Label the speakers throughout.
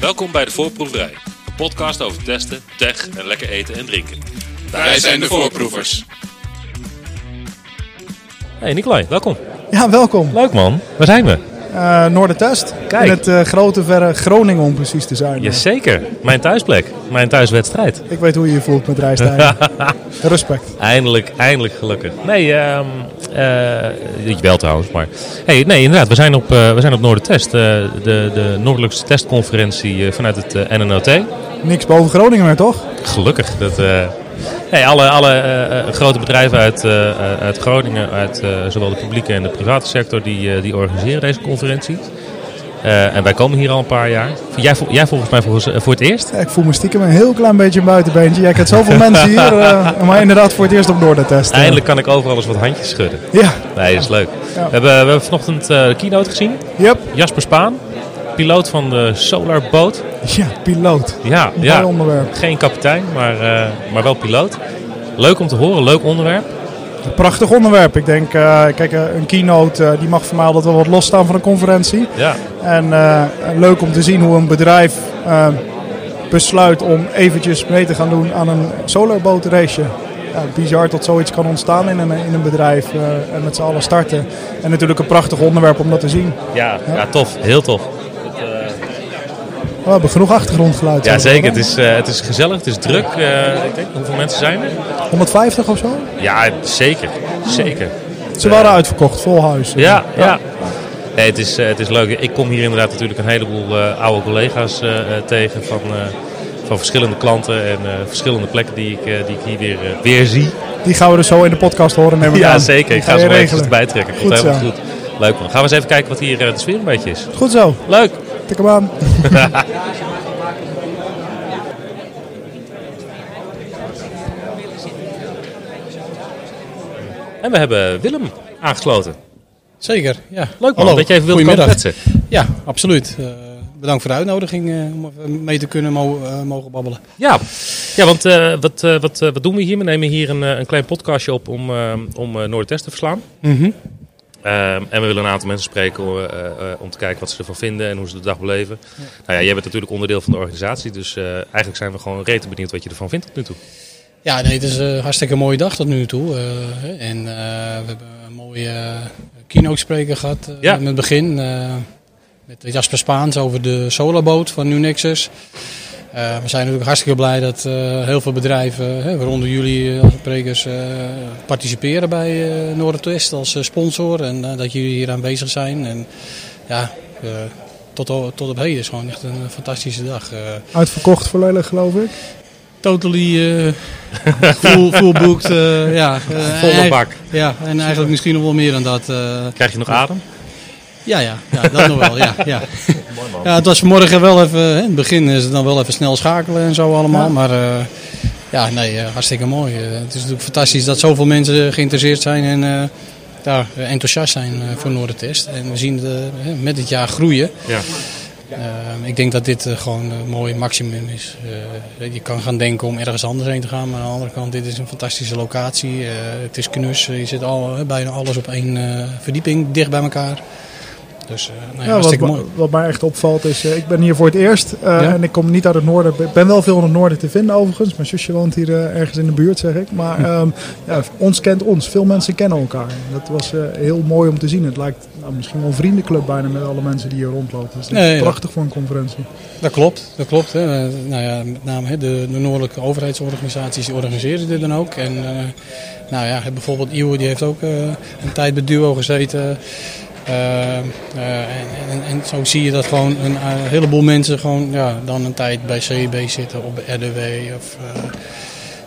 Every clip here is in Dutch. Speaker 1: Welkom bij de Voorproeverij, een podcast over testen, tech en lekker eten en drinken.
Speaker 2: Wij zijn de voorproevers.
Speaker 1: Hey Nicolai, welkom.
Speaker 3: Ja, welkom.
Speaker 1: Leuk man, waar zijn we?
Speaker 3: Eh Noordertest.
Speaker 1: Kijk.
Speaker 3: In het eh, grote verre Groningen om precies te zijn.
Speaker 1: Jazeker, mijn thuisplek, mijn thuiswedstrijd.
Speaker 3: Ik weet hoe je je voelt met reistijden. Respect.
Speaker 1: Eindelijk, eindelijk gelukkig. Nee, ehm eh, niet wel trouwens, maar... Hey, nee, inderdaad, we zijn op, eh we zijn op Noordertest. eh, de, de noordelijkste testconferentie eh, vanuit het eh, NNOT.
Speaker 3: Niks boven Groningen meer, toch?
Speaker 1: Gelukkig. Dat, eh, nee, alle alle eh, eh, grote bedrijven uit, eh, eh, uit Groningen, uit eh, zowel de publieke en de private sector, die, eh, die organiseren deze conferentie. Eh, en wij komen hier al een paar jaar. Jij, vol- jij volgens mij volgens, eh, voor het eerst?
Speaker 3: Ja, ik voel me stiekem een heel klein beetje een buitenbeentje. Jij kent zoveel mensen hier, eh, maar inderdaad voor het eerst op Noordertest. eh.
Speaker 1: Eindelijk kan ik overal eens wat handjes schudden.
Speaker 3: Ja,
Speaker 1: Nee, dat is leuk.
Speaker 3: Ja.
Speaker 1: We, hebben, we hebben vanochtend eh, de keynote gezien.
Speaker 3: yep.
Speaker 1: Jasper Spaan, piloot van de Solarboot.
Speaker 3: ja, piloot.
Speaker 1: Ja,
Speaker 3: Mooi
Speaker 1: ja.
Speaker 3: onderwerp.
Speaker 1: geen kapitein, maar, eh, maar wel piloot. Leuk om te horen, leuk onderwerp.
Speaker 3: Prachtig onderwerp. Ik denk, eh, kijk, eh, een keynote eh, die mag voor mij altijd wel wat losstaan van een conferentie.
Speaker 1: Ja,
Speaker 3: En eh, leuk om te zien hoe een bedrijf eh, besluit om eventjes mee te gaan doen aan een solarbootreisje. Ja, bizar dat zoiets kan ontstaan in een, in een bedrijf eh, en met z'n allen starten. En natuurlijk een prachtig onderwerp om dat te zien.
Speaker 1: ja, ja tof, heel tof.
Speaker 3: We hebben genoeg achtergrondgeluid.
Speaker 1: Ja,
Speaker 3: zeg maar,
Speaker 1: zeker. Het
Speaker 3: hè?
Speaker 1: is, eh, het is gezellig, het is druk. Eh, ik denk, hoeveel mensen zijn er?
Speaker 3: 150 of zo?
Speaker 1: Ja, zeker. Zeker.
Speaker 3: Ze waren uitverkocht, vol huis.
Speaker 1: Ja, ja. Nee, het, is, eh, het is leuk. Ik kom hier inderdaad natuurlijk een heleboel eh, oude collega's eh, eh, tegen van, eh, van verschillende klanten en eh, verschillende plekken die ik, eh, die ik hier weer, eh, weer zie.
Speaker 3: Die gaan we dus zo in de podcast horen. Neem ik
Speaker 1: Ja,
Speaker 3: aan.
Speaker 1: zeker.
Speaker 3: Die
Speaker 1: Ik ga
Speaker 3: je
Speaker 1: ze wel even
Speaker 3: regelen.
Speaker 1: erbij trekken. Komt
Speaker 3: Goed
Speaker 1: helemaal
Speaker 3: zo.
Speaker 1: goed. Leuk man. Gaan we eens even kijken wat hier eh, de sfeer een beetje is.
Speaker 3: Goed zo,
Speaker 1: Leuk.
Speaker 3: tik hem aan.
Speaker 1: En we hebben Willem aangesloten.
Speaker 4: Zeker, ja.
Speaker 1: Leuk man dat je even wilde komen
Speaker 4: Goedemiddag.
Speaker 1: kletsen.
Speaker 4: Ja, absoluut. Eh, bedankt voor de uitnodiging eh, om even mee te kunnen mo- eh, mogen babbelen.
Speaker 1: Ja, ja want eh, wat, eh, wat, eh, wat doen we hier? We nemen hier een, eh, een klein podcastje op om, eh, om eh, Noordwest te verslaan.
Speaker 4: Mhm.
Speaker 1: Ehm, en we willen een aantal mensen spreken om, eh, eh, om te kijken wat ze ervan vinden en hoe ze de dag beleven. Nou ja, jij bent natuurlijk onderdeel van de organisatie, dus eh, eigenlijk zijn we gewoon rete benieuwd wat je ervan vindt tot nu toe.
Speaker 4: Ja, nee, het is een hartstikke mooie dag tot nu toe. eh, en eh, we hebben een mooie eh, keynote spreker gehad eh,
Speaker 1: Ja.
Speaker 4: in het begin. eh, met Jasper Spaans over de solarboot van New Nexus. Eh, we zijn natuurlijk hartstikke blij dat eh, heel veel bedrijven, hè, waaronder jullie eh, als sprekers, eh, participeren bij eh Noordwest als eh, sponsor. En eh, dat jullie hier aanwezig zijn. En ja, eh, tot, o- tot op heden is gewoon echt een fantastische dag. eh.
Speaker 3: Uitverkocht volledig, geloof ik.
Speaker 4: Totally eh, full, full booked. eh, ja, eh,
Speaker 1: Volle
Speaker 4: eigen-
Speaker 1: bak.
Speaker 4: Ja, en eigenlijk misschien nog wel meer dan dat. eh,
Speaker 1: Krijg je nog adem?
Speaker 4: ja, ja, ja, dat nog wel. Ja, ja. ja, het was vanmorgen wel even. Hè, in het begin is het dan wel even snel schakelen en zo allemaal.
Speaker 3: Ja.
Speaker 4: Maar eh, ja, nee, eh, hartstikke mooi. Eh, het is natuurlijk fantastisch dat zoveel mensen eh, geïnteresseerd zijn en eh, ja, enthousiast zijn eh, voor Noordentest. En we zien het, eh, hè, met het jaar groeien.
Speaker 1: Ja.
Speaker 4: Ehm, ik denk dat dit eh, gewoon een mooi maximum is. Eh, je kan gaan denken om ergens anders heen te gaan, maar aan de andere kant, dit is een fantastische locatie. Eh, het is knus, Eh, je zit al, eh, bijna alles op één eh, verdieping dicht bij elkaar. Dus eh nou ja,
Speaker 3: Ja, wat,
Speaker 4: hartstikke
Speaker 3: ma-
Speaker 4: mooi.
Speaker 3: wat mij echt opvalt is, eh, ik ben hier voor het eerst eh,
Speaker 4: Ja?
Speaker 3: en ik kom niet uit het noorden. Ik ben wel veel in het noorden te vinden overigens. Mijn zusje woont hier eh, ergens in de buurt, zeg ik. Maar
Speaker 4: Hm.
Speaker 3: ehm, ja, ons kent ons. Veel mensen kennen elkaar. Dat was eh, heel mooi om te zien. Het lijkt nou, misschien wel een vriendenclub bijna met alle mensen die hier rondlopen. Dus dat is
Speaker 4: Nee, ja.
Speaker 3: prachtig voor een conferentie.
Speaker 4: Dat klopt, dat klopt. Hè. Eh, Nou ja, met name hè, de, de noordelijke overheidsorganisaties die organiseren dit dan ook. En eh, nou ja, bijvoorbeeld IWO die heeft ook eh, een tijd bij Duo gezeten. Eh, eh, en, en, en zo zie je dat gewoon een eh, heleboel mensen gewoon ja, dan een tijd bij CB zitten of bij RDW of eh,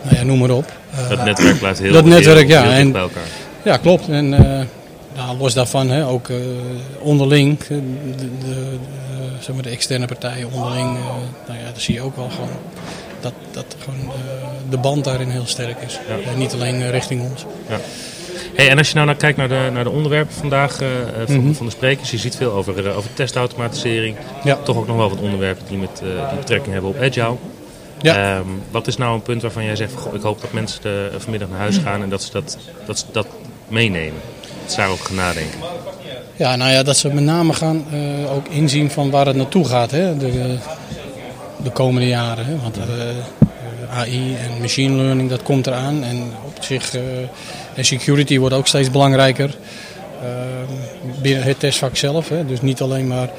Speaker 4: nou ja, noem maar op. Eh,
Speaker 1: Dat netwerk blijft heel,
Speaker 4: Dat netwerk,
Speaker 1: heel-
Speaker 4: ja,
Speaker 1: heel dicht
Speaker 4: en-
Speaker 1: bij elkaar.
Speaker 4: ja, klopt. En eh, nou, los daarvan, hè, ook eh, onderling, eh, de, de, eh, zeg maar de externe partijen onderling, eh, nou ja, dat zie je ook wel gewoon. Dat, dat gewoon eh, de band daarin heel sterk is. En niet alleen eh, richting ons.
Speaker 1: Hey, en als je nou, naar kijkt naar de, naar de onderwerpen vandaag eh, eh, van, van de sprekers, je ziet veel over, eh, over testautomatisering.
Speaker 4: Ja.
Speaker 1: Toch ook nog wel wat onderwerpen die, met, eh, die betrekking hebben op agile.
Speaker 4: Ja.
Speaker 1: Ehm, wat is nou een punt waarvan jij zegt, van, goh, ik hoop dat mensen eh, vanmiddag naar huis gaan en dat ze dat, dat, ze dat meenemen? Dat ze daarover gaan nadenken.
Speaker 4: Ja, nou ja, dat ze met name gaan eh, ook inzien van waar het naartoe gaat. Hè. De, eh, de komende jaren. Hè? Want eh, AI en machine learning, dat komt eraan. En op zich, eh, en security wordt ook steeds belangrijker. eh, binnen het testvak zelf. Hè? Dus niet alleen maar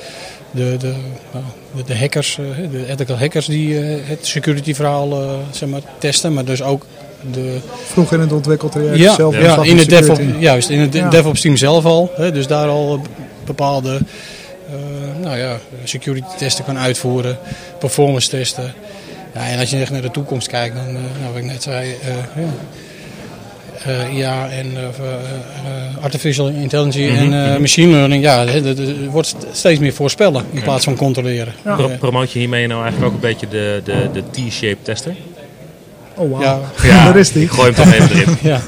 Speaker 4: de, de, nou, de, de hackers, eh, de ethical hackers die eh, het security verhaal eh, zeg maar, testen. Maar dus ook de,
Speaker 3: Vroeg in het ontwikkeltraject
Speaker 4: ja,
Speaker 3: zelf.
Speaker 4: ja, in het DevOps,
Speaker 3: security.
Speaker 4: juist, in het
Speaker 3: Ja.
Speaker 4: DevOps team zelf al. Hè, dus daar al bepaalde eh, nou ja, security testen kan uitvoeren, performance testen. Ja, en als je echt naar de toekomst kijkt, dan, eh, nou, wat ik net zei, eh, ja, eh, IA en eh, of, eh, eh, artificial intelligence en eh, machine learning, ja, hè, dat dat wordt st- steeds meer voorspellen in plaats van controleren.
Speaker 1: Pro-
Speaker 4: Eh,
Speaker 1: Promoot je hiermee nou eigenlijk ook een beetje de, de, de T-shape tester?
Speaker 3: Oh, wauw.
Speaker 4: ja.
Speaker 3: Daar is die.
Speaker 1: Gooi hem toch even erin.
Speaker 4: ja.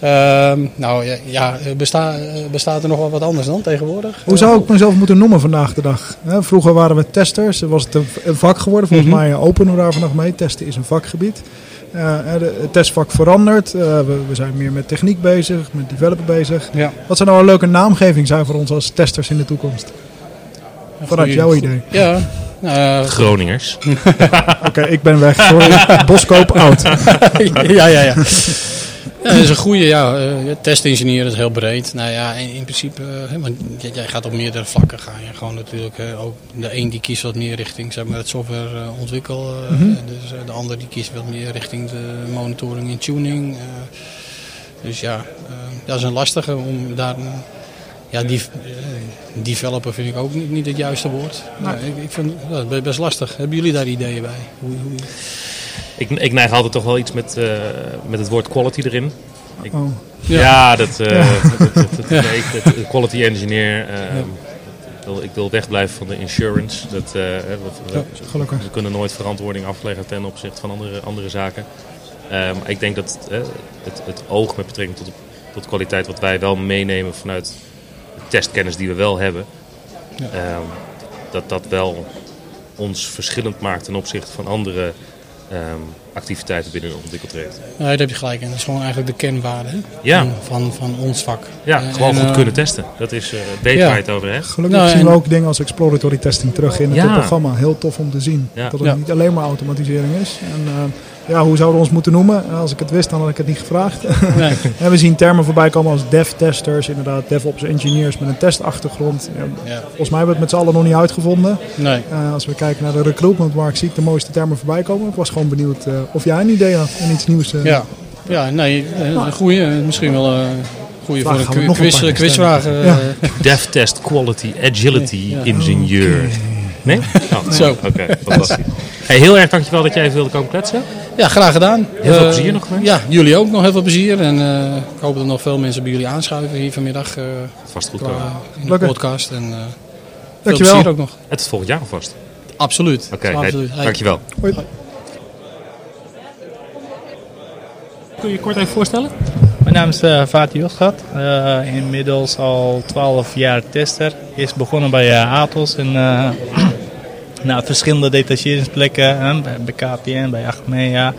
Speaker 4: Ehm, nou ja, ja eh, besta- eh, bestaat er nog wel wat anders dan tegenwoordig?
Speaker 3: Hoe zou ik mezelf moeten noemen vandaag de dag? Hè, Vroeger waren we testers, was het een v- een vak geworden. Volgens mij eh, openen we daar vandaag mee. Testen is een vakgebied. Eh, hè, de- het testvak verandert. Eh, we, we zijn meer met techniek bezig, met developer bezig.
Speaker 4: Ja.
Speaker 3: Wat zou nou een leuke naamgeving zijn voor ons als testers in de toekomst? Vanuit jouw idee.
Speaker 4: Ja. eh,
Speaker 1: Groningers.
Speaker 3: Oké, ik ben weg. Sorry. Boskoop oud.
Speaker 4: ja, ja, ja. Ja, dat is een goede, ja. eh, testingenieur dat is heel breed. Nou ja, in, in principe, eh, hè, want j- jij gaat op meerdere vlakken gaan. Je gewoon natuurlijk eh, ook de een die kiest wat meer richting zeg maar, het software eh, ontwikkel. eh, Dus eh, de ander die kiest wat meer richting de monitoring en tuning. eh. dus ja, eh, dat is een lastige om daar. een- ja, die, eh, developer vind ik ook niet, niet het juiste woord. Maar ik, ik vind dat is best lastig. Hebben jullie daar ideeën bij? Hoe, hoe,
Speaker 1: Ik, ik neig altijd toch wel iets met, eh, met het woord quality erin.
Speaker 3: Oh.
Speaker 1: Ja,
Speaker 4: Ja.
Speaker 1: dat, eh, dat- dat- dat- nee, ik- dat- quality engineer. eh, ik, wil, ik wil wegblijven van de insurance. Dat, eh, hè, we, we-
Speaker 3: Ja, gelukkig.
Speaker 1: we kunnen nooit verantwoording afleggen ten opzichte van andere, andere zaken. Eh, maar ik denk dat eh, het, het oog met betrekking tot, de- tot kwaliteit wat wij wel meenemen vanuit de testkennis die we wel hebben, eh, dat dat wel ons verschillend maakt ten opzichte van andere eh, activiteiten binnen een ontwikkeltraject.
Speaker 4: Nee, daar heb je gelijk. En dat is gewoon eigenlijk de kernwaarde hè,
Speaker 1: Ja.
Speaker 4: van, van, van ons vak.
Speaker 1: Ja,
Speaker 4: Eh,
Speaker 1: gewoon
Speaker 4: en,
Speaker 1: goed
Speaker 4: eh,
Speaker 1: kunnen testen. Dat is eh weet
Speaker 4: ja.
Speaker 1: waar je het over hebt.
Speaker 3: Gelukkig
Speaker 4: Nou,
Speaker 3: zien we
Speaker 4: en-
Speaker 3: ook dingen als exploratory testing terug in het
Speaker 1: Ja.
Speaker 3: programma. Heel tof om te zien.
Speaker 1: Ja.
Speaker 3: Dat het
Speaker 4: Ja.
Speaker 3: niet alleen maar automatisering is. En eh, ja, hoe zouden we ons moeten noemen? Eh, Als ik het wist, dan had ik het niet gevraagd.
Speaker 4: nee.
Speaker 3: en we zien termen voorbij komen als dev-testers, inderdaad DevOps engineers met een testachtergrond. Ja,
Speaker 4: Ja,
Speaker 3: volgens mij hebben we het met z'n allen nog niet uitgevonden.
Speaker 4: nee.
Speaker 3: Eh, als we kijken naar de recruitmentmarkt, zie ik de mooiste termen voorbij komen. Ik was gewoon benieuwd eh, of jij een idee had en iets nieuws. eh,
Speaker 4: Ja, ja nee, eh, een goede. Misschien wel eh, een goede
Speaker 3: Vraag
Speaker 4: voor een
Speaker 3: gaan we
Speaker 4: qui-
Speaker 3: nog een
Speaker 4: quiz,
Speaker 3: paar keer
Speaker 4: quizvraag. eh,
Speaker 3: Ja.
Speaker 1: DevTest Quality Agility
Speaker 4: Ja.
Speaker 1: Ingenieur. Nee? Oh,
Speaker 4: Zo.
Speaker 1: Oké, fantastisch. Hey, heel erg dankjewel dat jij even wilde komen kletsen.
Speaker 4: Ja, graag gedaan.
Speaker 1: Heel veel
Speaker 4: Eh,
Speaker 1: plezier nog, hè?
Speaker 4: Ja, jullie ook nog heel veel plezier. En eh, ik hoop dat nog veel mensen bij jullie aanschuiven hier vanmiddag eh,
Speaker 1: Vast goed
Speaker 4: qua-
Speaker 1: komen.
Speaker 4: in de
Speaker 3: Lekker.
Speaker 4: podcast. En eh, veel
Speaker 3: Dankjewel.
Speaker 4: plezier ook nog.
Speaker 1: Het is volgend jaar alvast.
Speaker 4: Absoluut.
Speaker 1: Oké, hey,
Speaker 4: Absoluut. Hey.
Speaker 1: dankjewel.
Speaker 3: Hoi.
Speaker 1: Kun je je kort even voorstellen?
Speaker 5: Mijn naam is eh Fatih Yozgat, eh, inmiddels al 12 jaar tester. Eerst begonnen bij eh, Atos en eh, nou, verschillende detacheringsplekken, hè, bij, bij KPN, bij Achmea,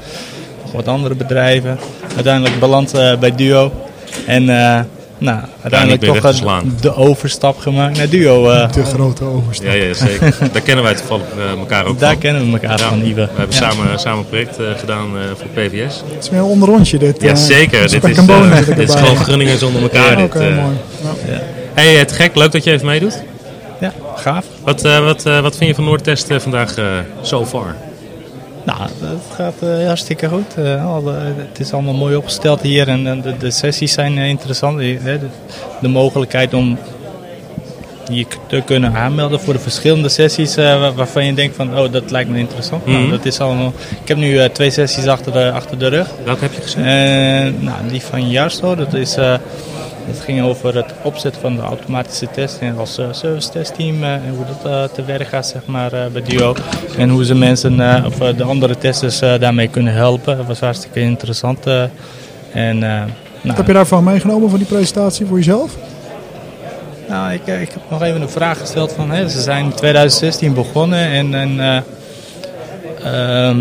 Speaker 5: nog wat andere bedrijven. Uiteindelijk beland eh, bij Duo en eh, nou, uiteindelijk
Speaker 1: meer
Speaker 5: toch
Speaker 1: weg te
Speaker 5: eh,
Speaker 1: slaan.
Speaker 5: de overstap gemaakt naar Duo. eh.
Speaker 3: Te grote overstap.
Speaker 1: Ja, ja zeker. Daar kennen wij toevallig eh, elkaar ook
Speaker 5: daar
Speaker 1: van.
Speaker 5: kennen we elkaar
Speaker 1: Ja,
Speaker 5: van, Iwe.
Speaker 1: We hebben samen, samen een project eh, gedaan eh, voor PVS.
Speaker 3: Het is meer een onderrondje dit. eh,
Speaker 1: Jazeker, dit
Speaker 3: spek
Speaker 1: is,
Speaker 3: en bonen
Speaker 1: eh,
Speaker 3: heb ik
Speaker 1: dit is
Speaker 3: erbij.
Speaker 1: gewoon Groningen zonder elkaar.
Speaker 3: Oké,
Speaker 1: dit, eh.
Speaker 3: mooi. Ja.
Speaker 1: Hey, het gek, leuk dat je even meedoet.
Speaker 5: Ja, gaaf.
Speaker 1: Wat, eh, wat, eh, wat vind je van Noordtest eh, vandaag eh so far?
Speaker 5: Nou, het gaat eh, hartstikke goed. Eh, alle- het is allemaal mooi opgesteld hier en eh, de, de sessies zijn eh, interessant. Eh, hè, De, de mogelijkheid om je k- te kunnen aanmelden voor de verschillende sessies eh, wa- waarvan je denkt van, oh, dat lijkt me interessant.
Speaker 1: Mhm.
Speaker 5: nou, dat is allemaal, ik heb nu eh, twee sessies achter de, achter de rug.
Speaker 1: Welke heb je gezien?
Speaker 5: Eh, nou, die van Jarsto, dat, is, eh, dat ging over het opzetten van de automatische test en als eh, service testteam eh, en hoe dat eh, te werk gaat zeg maar, eh, bij Duo. En hoe ze mensen eh, of eh, de andere testers eh, daarmee kunnen helpen. Dat was hartstikke interessant. eh. en, eh,
Speaker 3: Wat
Speaker 5: nou,
Speaker 3: heb je daarvan meegenomen van die presentatie voor jezelf?
Speaker 5: nou, ik, eh, ik heb nog even een vraag gesteld van, hè, ze zijn in 2016 begonnen en, en eh, ehm,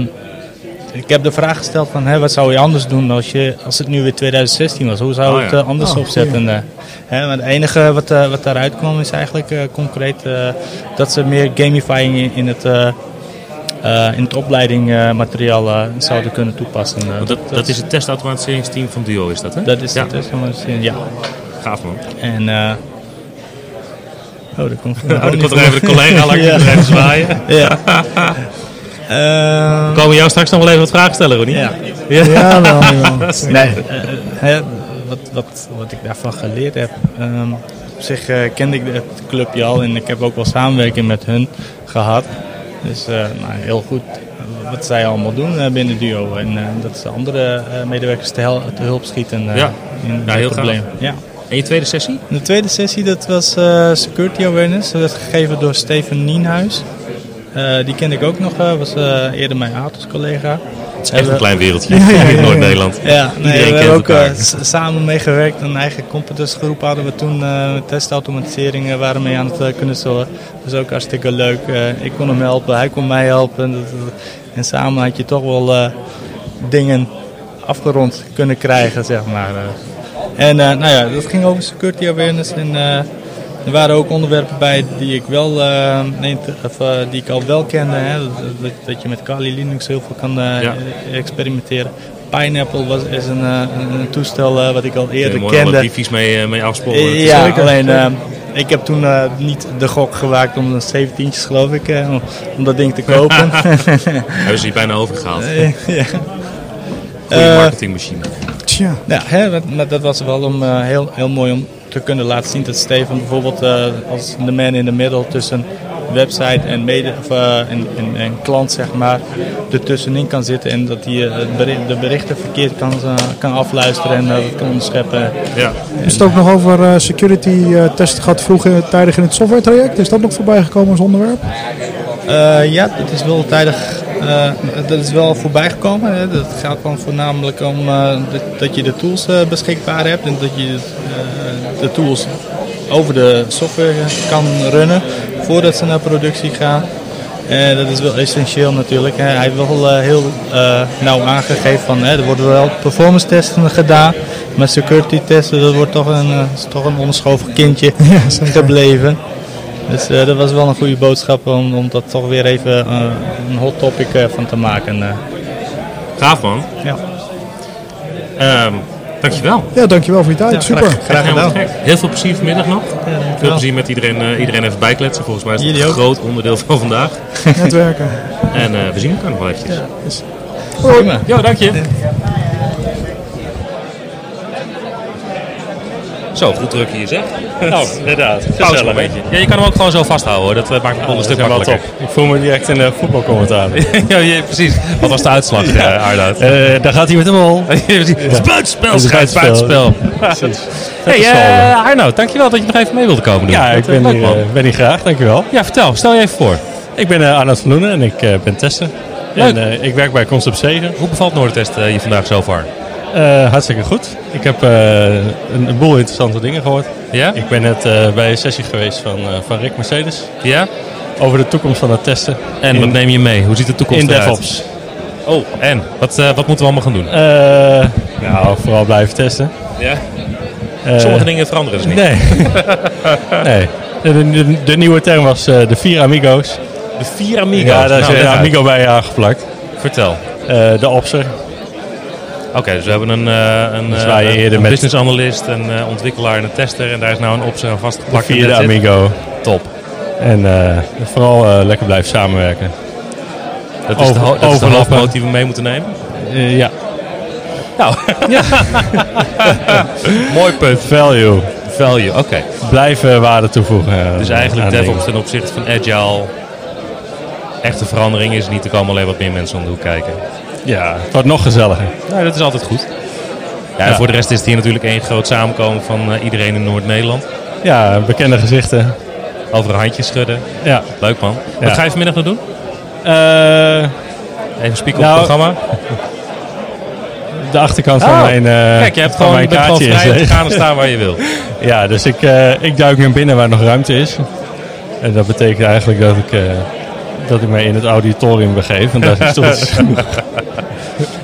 Speaker 5: ik heb de vraag gesteld van, hè, wat zou je anders doen als, je, als het nu weer 2016 was? Hoe zou
Speaker 1: Oh,
Speaker 5: je het
Speaker 1: ja.
Speaker 5: eh, anders
Speaker 3: Ah,
Speaker 5: opzetten? eh? hè, maar het enige wat, eh, wat daaruit kwam is eigenlijk eh, concreet eh, dat ze meer gamifying in, in het... eh, eh, in het opleidingmateriaal eh, zouden kunnen toepassen. Eh,
Speaker 1: Want dat, dat is het testautomatiseringsteam van Duo, is dat hè?
Speaker 5: dat is
Speaker 1: ja,
Speaker 5: het, hè, zeg maar, ja.
Speaker 1: gaaf man.
Speaker 5: En, eh, oh, dat komt
Speaker 1: Oh, dan komt er even de collega langs
Speaker 5: Ja.
Speaker 1: er even zwaaien.
Speaker 5: Ja. Eh,
Speaker 1: We komen jou straks nog wel even wat vragen stellen, Ronnie.
Speaker 5: ja.
Speaker 3: Ja, wel, jawel.
Speaker 5: Nee, eh, hè, wat, wat, wat ik daarvan geleerd heb. ehm, op zich eh, kende ik het clubje al en ik heb ook wel samenwerking met hun gehad. Dus eh, nou, heel goed eh, wat zij allemaal doen eh, binnen Duo. En eh, dat ze andere eh, medewerkers te, hel- te hulp schieten eh,
Speaker 1: Ja.
Speaker 5: in
Speaker 1: Ja,
Speaker 5: de
Speaker 1: heel
Speaker 5: problemen. Ja.
Speaker 1: En je tweede sessie?
Speaker 5: De tweede sessie dat was eh, Security Awareness. Dat werd gegeven door Steven Nienhuis. Eh, die kende ik ook nog, eh, was eh, eerder mijn Atos-collega.
Speaker 1: Het is echt een klein wereldje in Noord-Nederland.
Speaker 5: Ja, nee,
Speaker 1: Iedereen
Speaker 5: we
Speaker 1: kent
Speaker 5: hebben ook
Speaker 1: elkaar.
Speaker 5: eh, s- samen meegewerkt. Een eigen competencegroep hadden we toen. eh, testautomatisering eh, waren we mee aan het eh, knutselen. Dat was ook hartstikke leuk. Eh, ik kon hem helpen, hij kon mij helpen. Dat- dat- En samen had je toch wel eh, dingen afgerond kunnen krijgen, zeg maar. eh. En eh, nou ja, dat ging over security awareness. En, eh, er waren ook onderwerpen bij die ik, wel, eh, nee, te- of, eh, die ik al wel kende. Hè? Dat, dat- dat je met Kali Linux heel veel kan eh,
Speaker 1: Ja.
Speaker 5: experimenteren. Pineapple was, is een, eh, een, een toestel eh, wat ik al
Speaker 1: Kun je
Speaker 5: eerder
Speaker 1: mooi alle
Speaker 5: kende.
Speaker 1: briefjes mee, eh, mee afsporen. Het
Speaker 5: Eh,
Speaker 1: is
Speaker 5: Ja,
Speaker 1: leuk, hè?
Speaker 5: alleen eh, ik heb toen eh, niet de gok gewaakt om de 17'tjes geloof ik, eh, om- om dat ding te kopen.
Speaker 1: Hebben ze je bijna overgehaald.
Speaker 5: eh, ja.
Speaker 1: Goede
Speaker 5: Eh,
Speaker 1: marketingmachine.
Speaker 3: Tja.
Speaker 5: Ja, hè, dat- dat, dat was wel om, eh, heel, heel mooi om te kunnen laten zien dat Steven bijvoorbeeld eh, als de man in the middle tussen website en, mede, of, eh, en, en, en klant zeg maar ertussenin kan zitten en dat hij eh, het beri- de berichten verkeerd kan, eh, kan afluisteren en eh, dat kan onderscheppen.
Speaker 1: Ja.
Speaker 3: Is het ook nog over eh, security eh, testen gehad vroeger tijdig in het software traject? Is dat nog voorbij gekomen als onderwerp?
Speaker 5: Eh, ja, dat is wel tijdig. eh, dat is wel voorbij gekomen. Hè. Dat gaat dan voornamelijk om eh, dat, dat je de tools eh, beschikbaar hebt en dat je eh, de tools over de software kan runnen voordat ze naar productie gaan. Eh, dat is wel essentieel natuurlijk. hè. Hij heeft wel eh, heel eh, nauw aangegeven van hè, er worden wel performance testen gedaan, maar security testen dat wordt toch een, eh, is toch een onbeschoven kindje gebleven. Dus eh, dat was wel een goede boodschap om, om dat toch weer even eh, een hot topic eh, van te maken. eh.
Speaker 1: Gaaf man.
Speaker 5: ja.
Speaker 1: Ehm, dankjewel.
Speaker 3: Ja, dankjewel voor je tijd.
Speaker 5: Ja,
Speaker 3: Super.
Speaker 5: Graag
Speaker 1: Helemaal
Speaker 5: gedaan.
Speaker 1: te gek. Heel veel plezier vanmiddag nog. veel plezier met iedereen, eh, iedereen even bijkletsen. Volgens mij is het
Speaker 5: Jullie
Speaker 1: een
Speaker 5: ook.
Speaker 1: groot onderdeel van vandaag.
Speaker 3: Netwerken.
Speaker 1: En eh, we zien elkaar nog wel eventjes. Ja,
Speaker 5: Prima.
Speaker 1: dank je. Zo, goed druk hier zeg.
Speaker 6: Nou, inderdaad.
Speaker 1: Pauze een
Speaker 6: Gezellig.
Speaker 1: beetje. Ja, je kan hem ook gewoon zo vasthouden hoor. Dat eh, maakt het wel een stuk
Speaker 6: Nou, helemaal
Speaker 1: makkelijker.
Speaker 6: top. Ik voel me direct een eh, voetbalcommentator.
Speaker 1: ja, ja, precies. Wat was de uitslag, eh Arnoud?
Speaker 6: Eh, daar gaat hij met de bal.
Speaker 1: Spuitspel, Buitenspel, schijnt buitenspel.
Speaker 6: buitenspel. Precies.
Speaker 1: Hey,
Speaker 6: Verstandig.
Speaker 1: eh Arnoud, dankjewel dat je nog even mee wilde komen doen.
Speaker 6: ja,
Speaker 1: Dat,
Speaker 6: ik
Speaker 1: eh,
Speaker 6: ben
Speaker 1: leuk,
Speaker 6: hier,
Speaker 1: man.
Speaker 6: eh, ben hier graag, dankjewel.
Speaker 1: Ja, vertel. Stel je even voor.
Speaker 6: Ik ben eh, Arnoud van Loenen en ik eh, ben tester.
Speaker 1: Leuk.
Speaker 6: En eh, ik werk bij Concept 7.
Speaker 1: Hoe bevalt Noordtest eh, je vandaag zo ver?
Speaker 6: Eh, hartstikke goed. Ik heb eh, een, een boel interessante dingen gehoord.
Speaker 1: Ja?
Speaker 6: Ik ben net eh, bij een sessie geweest van, eh, van Rick Mercedes
Speaker 1: Ja?
Speaker 6: over de toekomst van het testen
Speaker 1: En
Speaker 6: in,
Speaker 1: wat neem je mee? Hoe ziet de toekomst
Speaker 6: in
Speaker 1: eruit?
Speaker 6: DevOps.
Speaker 1: Oh, en? Wat, eh, wat moeten we allemaal gaan doen?
Speaker 6: Eh, nou, vooral blijven testen.
Speaker 1: Ja?
Speaker 6: Eh,
Speaker 1: Sommige dingen veranderen dus niet.
Speaker 6: Nee. nee. De, de- de nieuwe term was eh, de vier amigo's.
Speaker 1: De vier amigo's.
Speaker 6: Ja, daar is
Speaker 1: Nou,
Speaker 6: een
Speaker 1: leg uit.
Speaker 6: amigo bij aangeplakt.
Speaker 1: Vertel.
Speaker 6: Eh, de opser.
Speaker 1: Oké, dus we hebben een, eh, een,
Speaker 6: Dus
Speaker 1: eh,
Speaker 6: waar je
Speaker 1: een-
Speaker 6: eerder
Speaker 1: een
Speaker 6: met-
Speaker 1: business analyst, een eh, ontwikkelaar en een tester. En daar is nou een opzet aan
Speaker 6: De
Speaker 1: vastgeplakt.
Speaker 6: vierde
Speaker 1: en that's it.
Speaker 6: amigo.
Speaker 1: Top.
Speaker 6: En eh, vooral eh, lekker blijven samenwerken.
Speaker 1: Dat is de, ho-
Speaker 6: Over-
Speaker 1: dat is de
Speaker 6: overlappen.
Speaker 1: hoofdmoot die we mee moeten nemen.
Speaker 6: Eh, ja.
Speaker 1: Nou. Mooi punt.
Speaker 6: Value.
Speaker 1: Value, oké.
Speaker 6: Blijven waarde toevoegen. eh,
Speaker 1: Dus eigenlijk
Speaker 6: aan
Speaker 1: DevOps
Speaker 6: dingen.
Speaker 1: ten opzichte van Agile. Echte verandering is niet. Er komen alleen wat meer mensen om de hoek kijken.
Speaker 6: Ja, het wordt nog gezelliger.
Speaker 1: Nou, dat is altijd goed. Ja, en
Speaker 6: Ja.
Speaker 1: Voor de rest is het hier natuurlijk één groot samenkomen van eh, iedereen in Noord-Nederland.
Speaker 6: Ja, bekende gezichten.
Speaker 1: Over handjes schudden.
Speaker 6: Ja.
Speaker 1: Leuk man. Wat
Speaker 6: Ja.
Speaker 1: ga je vanmiddag nog doen?
Speaker 6: Eh,
Speaker 1: Even spieken op
Speaker 6: Nou,
Speaker 1: het programma.
Speaker 6: de achterkant
Speaker 1: Oh,
Speaker 6: van mijn eh
Speaker 1: Kijk, je hebt
Speaker 6: van
Speaker 1: gewoon,
Speaker 6: mijn
Speaker 1: je bent gewoon
Speaker 6: kaartje is
Speaker 1: vrij om te
Speaker 6: leeg.
Speaker 1: gaan en staan waar je wil.
Speaker 6: Ja, dus ik, eh, ik duik weer binnen waar nog ruimte is. En dat betekent eigenlijk dat ik, eh, dat ik mij in het auditorium begeef. Want daar is toch iets genoeg.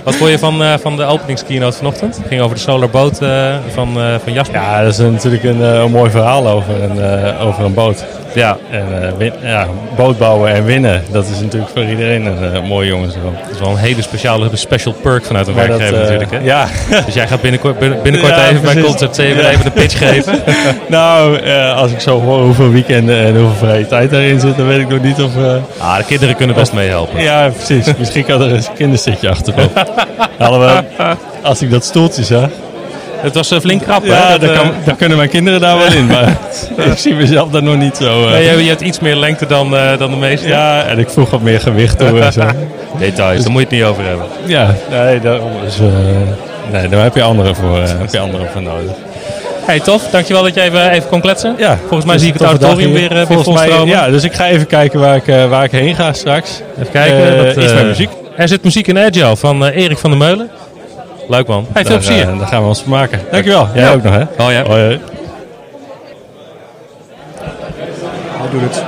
Speaker 1: Wat vond je van, eh, van de openingskeynote vanochtend? Het ging over de solar boat eh, van, eh, van Jasper.
Speaker 6: Ja, dat is natuurlijk een, eh, een mooi verhaal over een, eh, over een boot.
Speaker 7: Ja, en eh, win- ja, boot bouwen en winnen, dat is natuurlijk voor iedereen een eh, mooie jongensdroom.
Speaker 1: Dat is wel een hele speciale special perk vanuit een
Speaker 7: Maar dat,
Speaker 1: werkgever
Speaker 7: eh,
Speaker 1: natuurlijk. Hè?
Speaker 7: Ja,
Speaker 1: Dus jij gaat binnenkort, bin- binnenkort
Speaker 7: Ja,
Speaker 1: even bij
Speaker 7: precies.
Speaker 1: Concert 7
Speaker 7: Ja.
Speaker 1: even de pitch geven.
Speaker 7: nou, eh, als ik zo hoor hoeveel weekenden en hoeveel vrije tijd daarin zit, dan weet ik nog niet of... eh,
Speaker 1: Ah, de kinderen kunnen best meehelpen.
Speaker 7: Ja, precies. Misschien kan er eens een kindersitje achterop. Alhoewel, als ik dat stoeltje zag...
Speaker 1: Het was eh, flink krap, hè?
Speaker 7: Ja,
Speaker 1: Dat,
Speaker 7: dan,
Speaker 1: eh,
Speaker 7: kan, dan kunnen mijn kinderen daar wel in, maar ik zie mezelf daar nog niet zo... eh,
Speaker 1: nee, je, je hebt iets meer lengte dan, eh, dan de meeste.
Speaker 7: ja, en ik vroeg wat meer gewicht toe en zo.
Speaker 1: Details, daar moet je het niet over hebben.
Speaker 7: Ja, nee, daarom is, eh, nee, daar heb je anderen voor, eh, heb je anderen voor nodig.
Speaker 1: Hey, tof. Dankjewel dat jij even, even kon kletsen.
Speaker 7: Ja,
Speaker 1: Volgens mij
Speaker 7: dus
Speaker 1: zie ik het
Speaker 7: toffe dag
Speaker 1: auditorium
Speaker 7: hier.
Speaker 1: weer, eh, weer
Speaker 7: Volgens mij-
Speaker 1: volstromen.
Speaker 7: Ja, dus ik ga even kijken waar ik, eh, waar ik heen ga straks.
Speaker 1: Even kijken.
Speaker 7: Eh,
Speaker 1: dat,
Speaker 7: iets
Speaker 1: eh,
Speaker 7: met muziek.
Speaker 1: Er zit muziek in Agile van eh, Erik van der Meulen. Leuk man. Hey, veel
Speaker 7: Daar,
Speaker 1: plezier.
Speaker 7: eh, daar gaan we ons vermaken. Dankjewel. Jij ook nog, hè?
Speaker 1: Oh ja.
Speaker 7: Hoi, hoi.
Speaker 3: Hij doet het.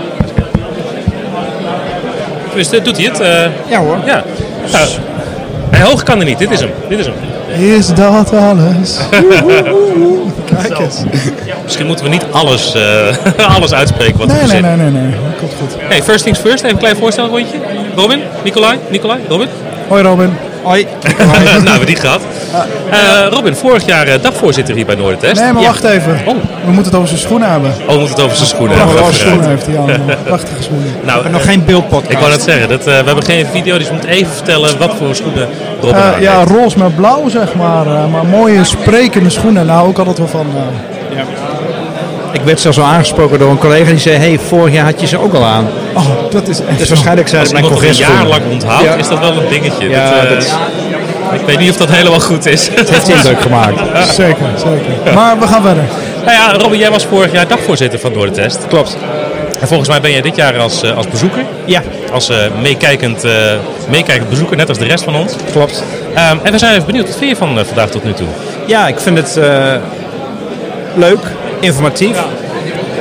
Speaker 1: Dus eh, doet hij het? eh,
Speaker 3: Ja hoor.
Speaker 1: ja. Nou, hij hoog kan er niet. Dit is hem. Dit is hem.
Speaker 3: Is dat alles? Woehoehoe. Kijk eens.
Speaker 1: Misschien moeten we niet alles, eh, alles uitspreken wat
Speaker 3: Nee,
Speaker 1: er
Speaker 3: nee,
Speaker 1: zit.
Speaker 3: nee, nee, nee. Dat komt goed.
Speaker 1: Hey, first things first. Even een klein voorstelrondje. Robin, Nicolai, Nicolai, Robin.
Speaker 3: Hoi Robin. Hoi.
Speaker 1: nou, we hebben die gehad. Eh, Robin, vorig jaar eh, dagvoorzitter hier bij Noordentest.
Speaker 3: Nee, maar
Speaker 1: Ja.
Speaker 3: wacht even.
Speaker 1: Oh.
Speaker 3: We moeten het over zijn schoenen hebben.
Speaker 1: Oh, we moeten het over zijn schoenen hebben.
Speaker 3: Prachtige
Speaker 1: Vooruit.
Speaker 3: schoenen heeft hij aan. Prachtige schoenen.
Speaker 1: Nou, eh,
Speaker 3: geen beeldpot.
Speaker 1: ik wou net zeggen, dat, eh, we hebben geen video, dus je moet even vertellen wat voor schoenen Robin aan
Speaker 3: Eh, ja,
Speaker 1: heeft.
Speaker 3: roze met blauw zeg maar. eh, maar mooie sprekende schoenen. Nou, ik had het wel van. eh,
Speaker 8: Ik werd zelfs al aangesproken door een collega die zei: Hey, vorig jaar had je ze ook al aan.
Speaker 3: oh, dat is echt.
Speaker 8: Dus waarschijnlijk zijn
Speaker 1: Als
Speaker 8: het mijn
Speaker 1: iemand het een
Speaker 8: congres.
Speaker 1: jaar lang onthoudt,
Speaker 8: Ja.
Speaker 1: is dat wel een dingetje.
Speaker 8: Ja,
Speaker 1: dat, eh,
Speaker 8: dat is-
Speaker 1: Ik weet niet of dat helemaal goed is.
Speaker 8: heeft indruk gemaakt.
Speaker 3: Zeker, zeker. Maar we gaan verder.
Speaker 1: nou ja, Robin, jij was vorig jaar dagvoorzitter van Noordentest.
Speaker 8: Klopt.
Speaker 1: En volgens mij ben jij dit jaar als, eh, als bezoeker.
Speaker 8: Ja,
Speaker 1: Als eh, meekijkend, eh, meekijkend bezoeker, net als de rest van ons.
Speaker 8: klopt.
Speaker 1: Ehm, en we zijn even benieuwd, wat vind je van eh, vandaag tot nu toe?
Speaker 8: Ja, ik vind het eh, leuk, informatief.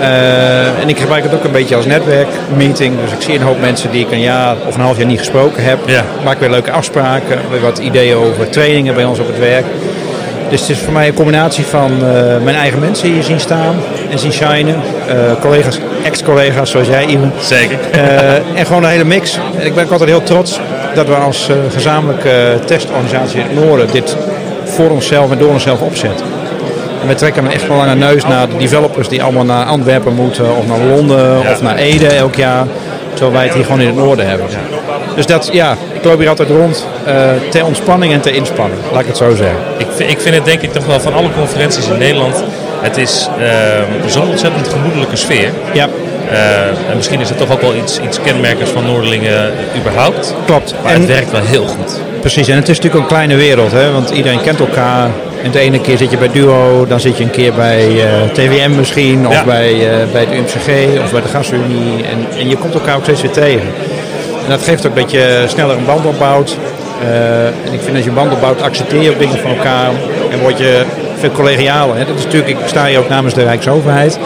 Speaker 8: Eh, en ik gebruik het ook een beetje als netwerkmeeting. Dus ik zie een hoop mensen die ik een jaar of een half jaar niet gesproken heb.
Speaker 1: Ja.
Speaker 8: Maak weer leuke afspraken. Weer wat ideeën over trainingen bij ons op het werk. Dus het is voor mij een combinatie van eh, mijn eigen mensen hier zien staan en zien shinen. Eh, collega's, ex-collega's zoals jij, Iwan.
Speaker 1: Zeker.
Speaker 8: Eh, en gewoon een hele mix. En ik ben ook altijd heel trots dat we als eh, gezamenlijke eh, testorganisatie in het Noorden dit voor onszelf en door onszelf opzetten. En we trekken een echt wel lange neus naar de developers die allemaal naar Antwerpen moeten of naar Londen of naar Ede elk jaar. Terwijl wij het hier gewoon in het Noorden hebben. Dus dat, ja, ik loop hier altijd rond eh, ter ontspanning en ter inspanning, laat ik het zo zeggen.
Speaker 1: Ik, vind- ik vind het denk ik toch wel van alle conferenties in Nederland. Het is ehm, zo'n ontzettend gemoedelijke sfeer.
Speaker 8: Ja,
Speaker 1: Eh, en misschien is het toch ook wel iets, iets kenmerkers van Noorderlingen eh, überhaupt.
Speaker 8: klopt.
Speaker 1: Maar het werkt wel heel goed.
Speaker 8: Precies, en het is natuurlijk een kleine wereld, hè? want iedereen kent elkaar. En de ene keer zit je bij Duo, dan zit je een keer bij eh, TWM misschien, of
Speaker 1: Ja.
Speaker 8: bij, eh, bij de UMCG, of bij de Gasunie. En, en je komt elkaar ook steeds weer tegen. En dat geeft ook dat je sneller een band opbouwt. Eh, en ik vind als je een band opbouwt, accepteer je ook dingen van elkaar en word je veel collegialer. Hè? Dat is natuurlijk, ik sta hier ook namens de Rijksoverheid.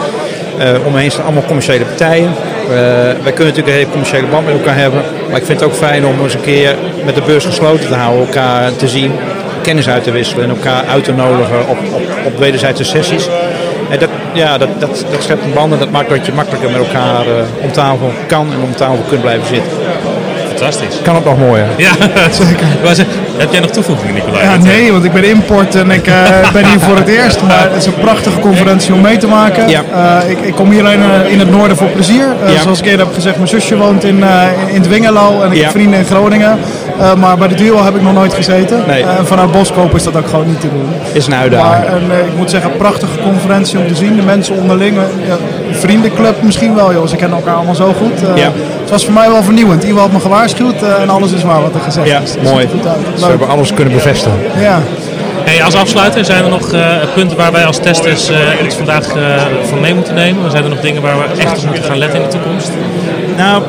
Speaker 8: Eh om me heen staan allemaal commerciële partijen. Eh, wij kunnen natuurlijk een hele commerciële band met elkaar hebben. Maar ik vind het ook fijn om eens een keer met de beurs gesloten te houden. Elkaar te zien, kennis uit te wisselen en elkaar uit te nodigen op, op, op wederzijdse sessies. En dat, ja, dat, dat, dat schept een band en dat maakt dat je makkelijker met elkaar eh, om tafel kan en om tafel kunt blijven zitten.
Speaker 1: Fantastisch.
Speaker 8: Kan het nog mooier.
Speaker 1: Ja, zeker. Heb jij nog toevoegingen, Nicolai? eh,
Speaker 3: Ja, nee, want ik ben import en ik eh, ben hier voor het eerst. Maar het is een prachtige conferentie om mee te maken.
Speaker 8: Ja.
Speaker 3: Eh, ik, ik kom hier alleen eh, in het noorden voor plezier. Eh,
Speaker 8: Ja.
Speaker 3: Zoals ik eerder heb gezegd, mijn zusje woont in, eh, in- in Dwingelo en ik
Speaker 8: Ja.
Speaker 3: heb vrienden in Groningen. Eh, maar bij de duo heb ik nog nooit gezeten.
Speaker 8: Nee.
Speaker 3: Eh, en vanuit Boskoop is dat ook gewoon niet te doen.
Speaker 8: Is een uitdaging.
Speaker 3: Maar een, eh, ik moet zeggen, prachtige conferentie om te zien. De mensen onderling, eh, ja, een vriendenclub misschien wel, joh. Ze kennen elkaar allemaal zo goed. Eh,
Speaker 8: Ja.
Speaker 3: Het was voor mij wel vernieuwend. Iemand had me gewaarschuwd eh, en alles is waar wat er gezegd
Speaker 8: Ja,
Speaker 3: is. Dus Het ziet
Speaker 8: mooi.
Speaker 3: er goed uit.
Speaker 8: Ze hebben alles kunnen bevestigen.
Speaker 3: Leuk. Ja.
Speaker 1: Hey, als afsluiter, zijn er nog eh, punten waar wij als testers eh, iets vandaag eh, van mee moeten nemen? Zijn er nog dingen waar we echt op moeten gaan letten in de toekomst?
Speaker 8: Nou,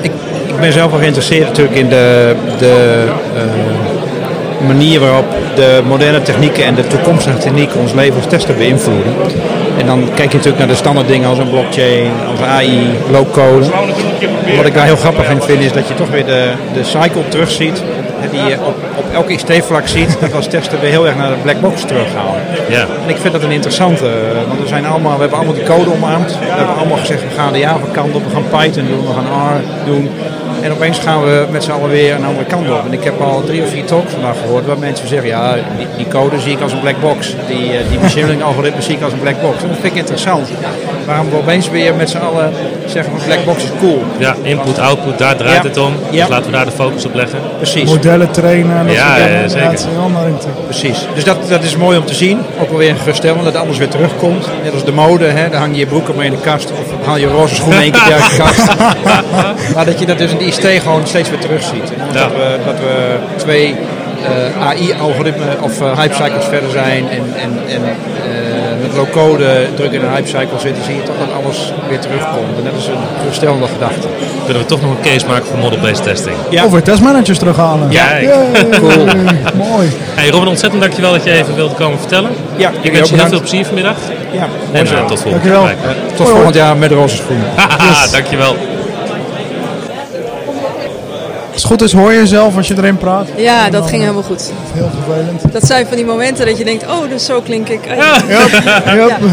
Speaker 8: ik, ik ben zelf wel geïnteresseerd natuurlijk in de, de eh, manier waarop de moderne technieken en de toekomstige technieken ons leven als tester beïnvloeden. En dan kijk je natuurlijk naar de standaard dingen als een blockchain, als AI, low-code. Wat ik daar heel grappig in vind is dat je toch weer de, de cycle terugziet hè, die je op, op elk ICT-vlak ziet, dat we als tester weer heel erg naar de black box teruggaan.
Speaker 1: Ja.
Speaker 8: En ik vind dat een interessante, eh, want we, zijn allemaal, we hebben allemaal die code omarmd. We hebben allemaal gezegd, we gaan de Java-kant op, we gaan Python doen, we gaan R doen. En opeens gaan we met z'n allen weer een andere kant op. En ik heb al drie of vier talks vandaag gehoord waar mensen zeggen, ja, die, die code zie ik als een black box. Die, eh, die machine learning algoritme zie ik als een black box. En dat vind ik interessant. Waarom we opeens weer met z'n allen zeggen, van black box is cool.
Speaker 1: Ja, input, output, daar draait
Speaker 8: Ja.
Speaker 1: het om.
Speaker 8: Ja.
Speaker 1: Dus laten we daar de focus op leggen.
Speaker 8: Precies.
Speaker 3: Modellen trainen en dat
Speaker 1: Ja,
Speaker 3: soort dingen.
Speaker 1: ja, zeker.
Speaker 3: het is een andere insteek.
Speaker 8: Precies. Dus dat, dat is mooi om te zien. Ook wel weer geruststellend dat alles weer terugkomt. Net als de mode, hè, daar hang je je broeken mee in de kast. Of haal je roze schoenen één keer per jaar uit de kast. maar dat je dat dus in de ICT gewoon steeds weer terugziet. En
Speaker 1: Ja.
Speaker 8: Dat, we, dat we twee AI-algoritmen of eh, hype cycles verder zijn. En, en, en eh, met low-code druk in een hype cycle zitten. Zie je toch dat alles weer terugkomt. En dat is een geruststellende gedachte.
Speaker 1: Kunnen we toch nog een case maken voor model-based testing.
Speaker 8: Ja.
Speaker 3: Of weer testmanagers terughalen.
Speaker 1: Ja, ik-
Speaker 3: Yay.
Speaker 8: Cool.
Speaker 3: Mooi.
Speaker 1: Hey Robin, ontzettend dankjewel dat je even wilde komen vertellen.
Speaker 8: Ja,
Speaker 1: Ik
Speaker 8: heel
Speaker 1: wens je heel
Speaker 8: bedankt.
Speaker 1: veel plezier vanmiddag.
Speaker 8: Ja.
Speaker 1: En eh, tot volgende
Speaker 3: Dankjewel.
Speaker 1: keer. blijkbaar.
Speaker 8: Tot volgend jaar met roze schoenen.
Speaker 1: Haha, Dankjewel.
Speaker 3: Als het goed is hoor je jezelf als je erin praat.
Speaker 9: Ja, dat ging helemaal goed.
Speaker 3: Heel vervelend.
Speaker 9: Dat zijn van die momenten dat je denkt, oh, dus zo klink ik.
Speaker 3: Yep.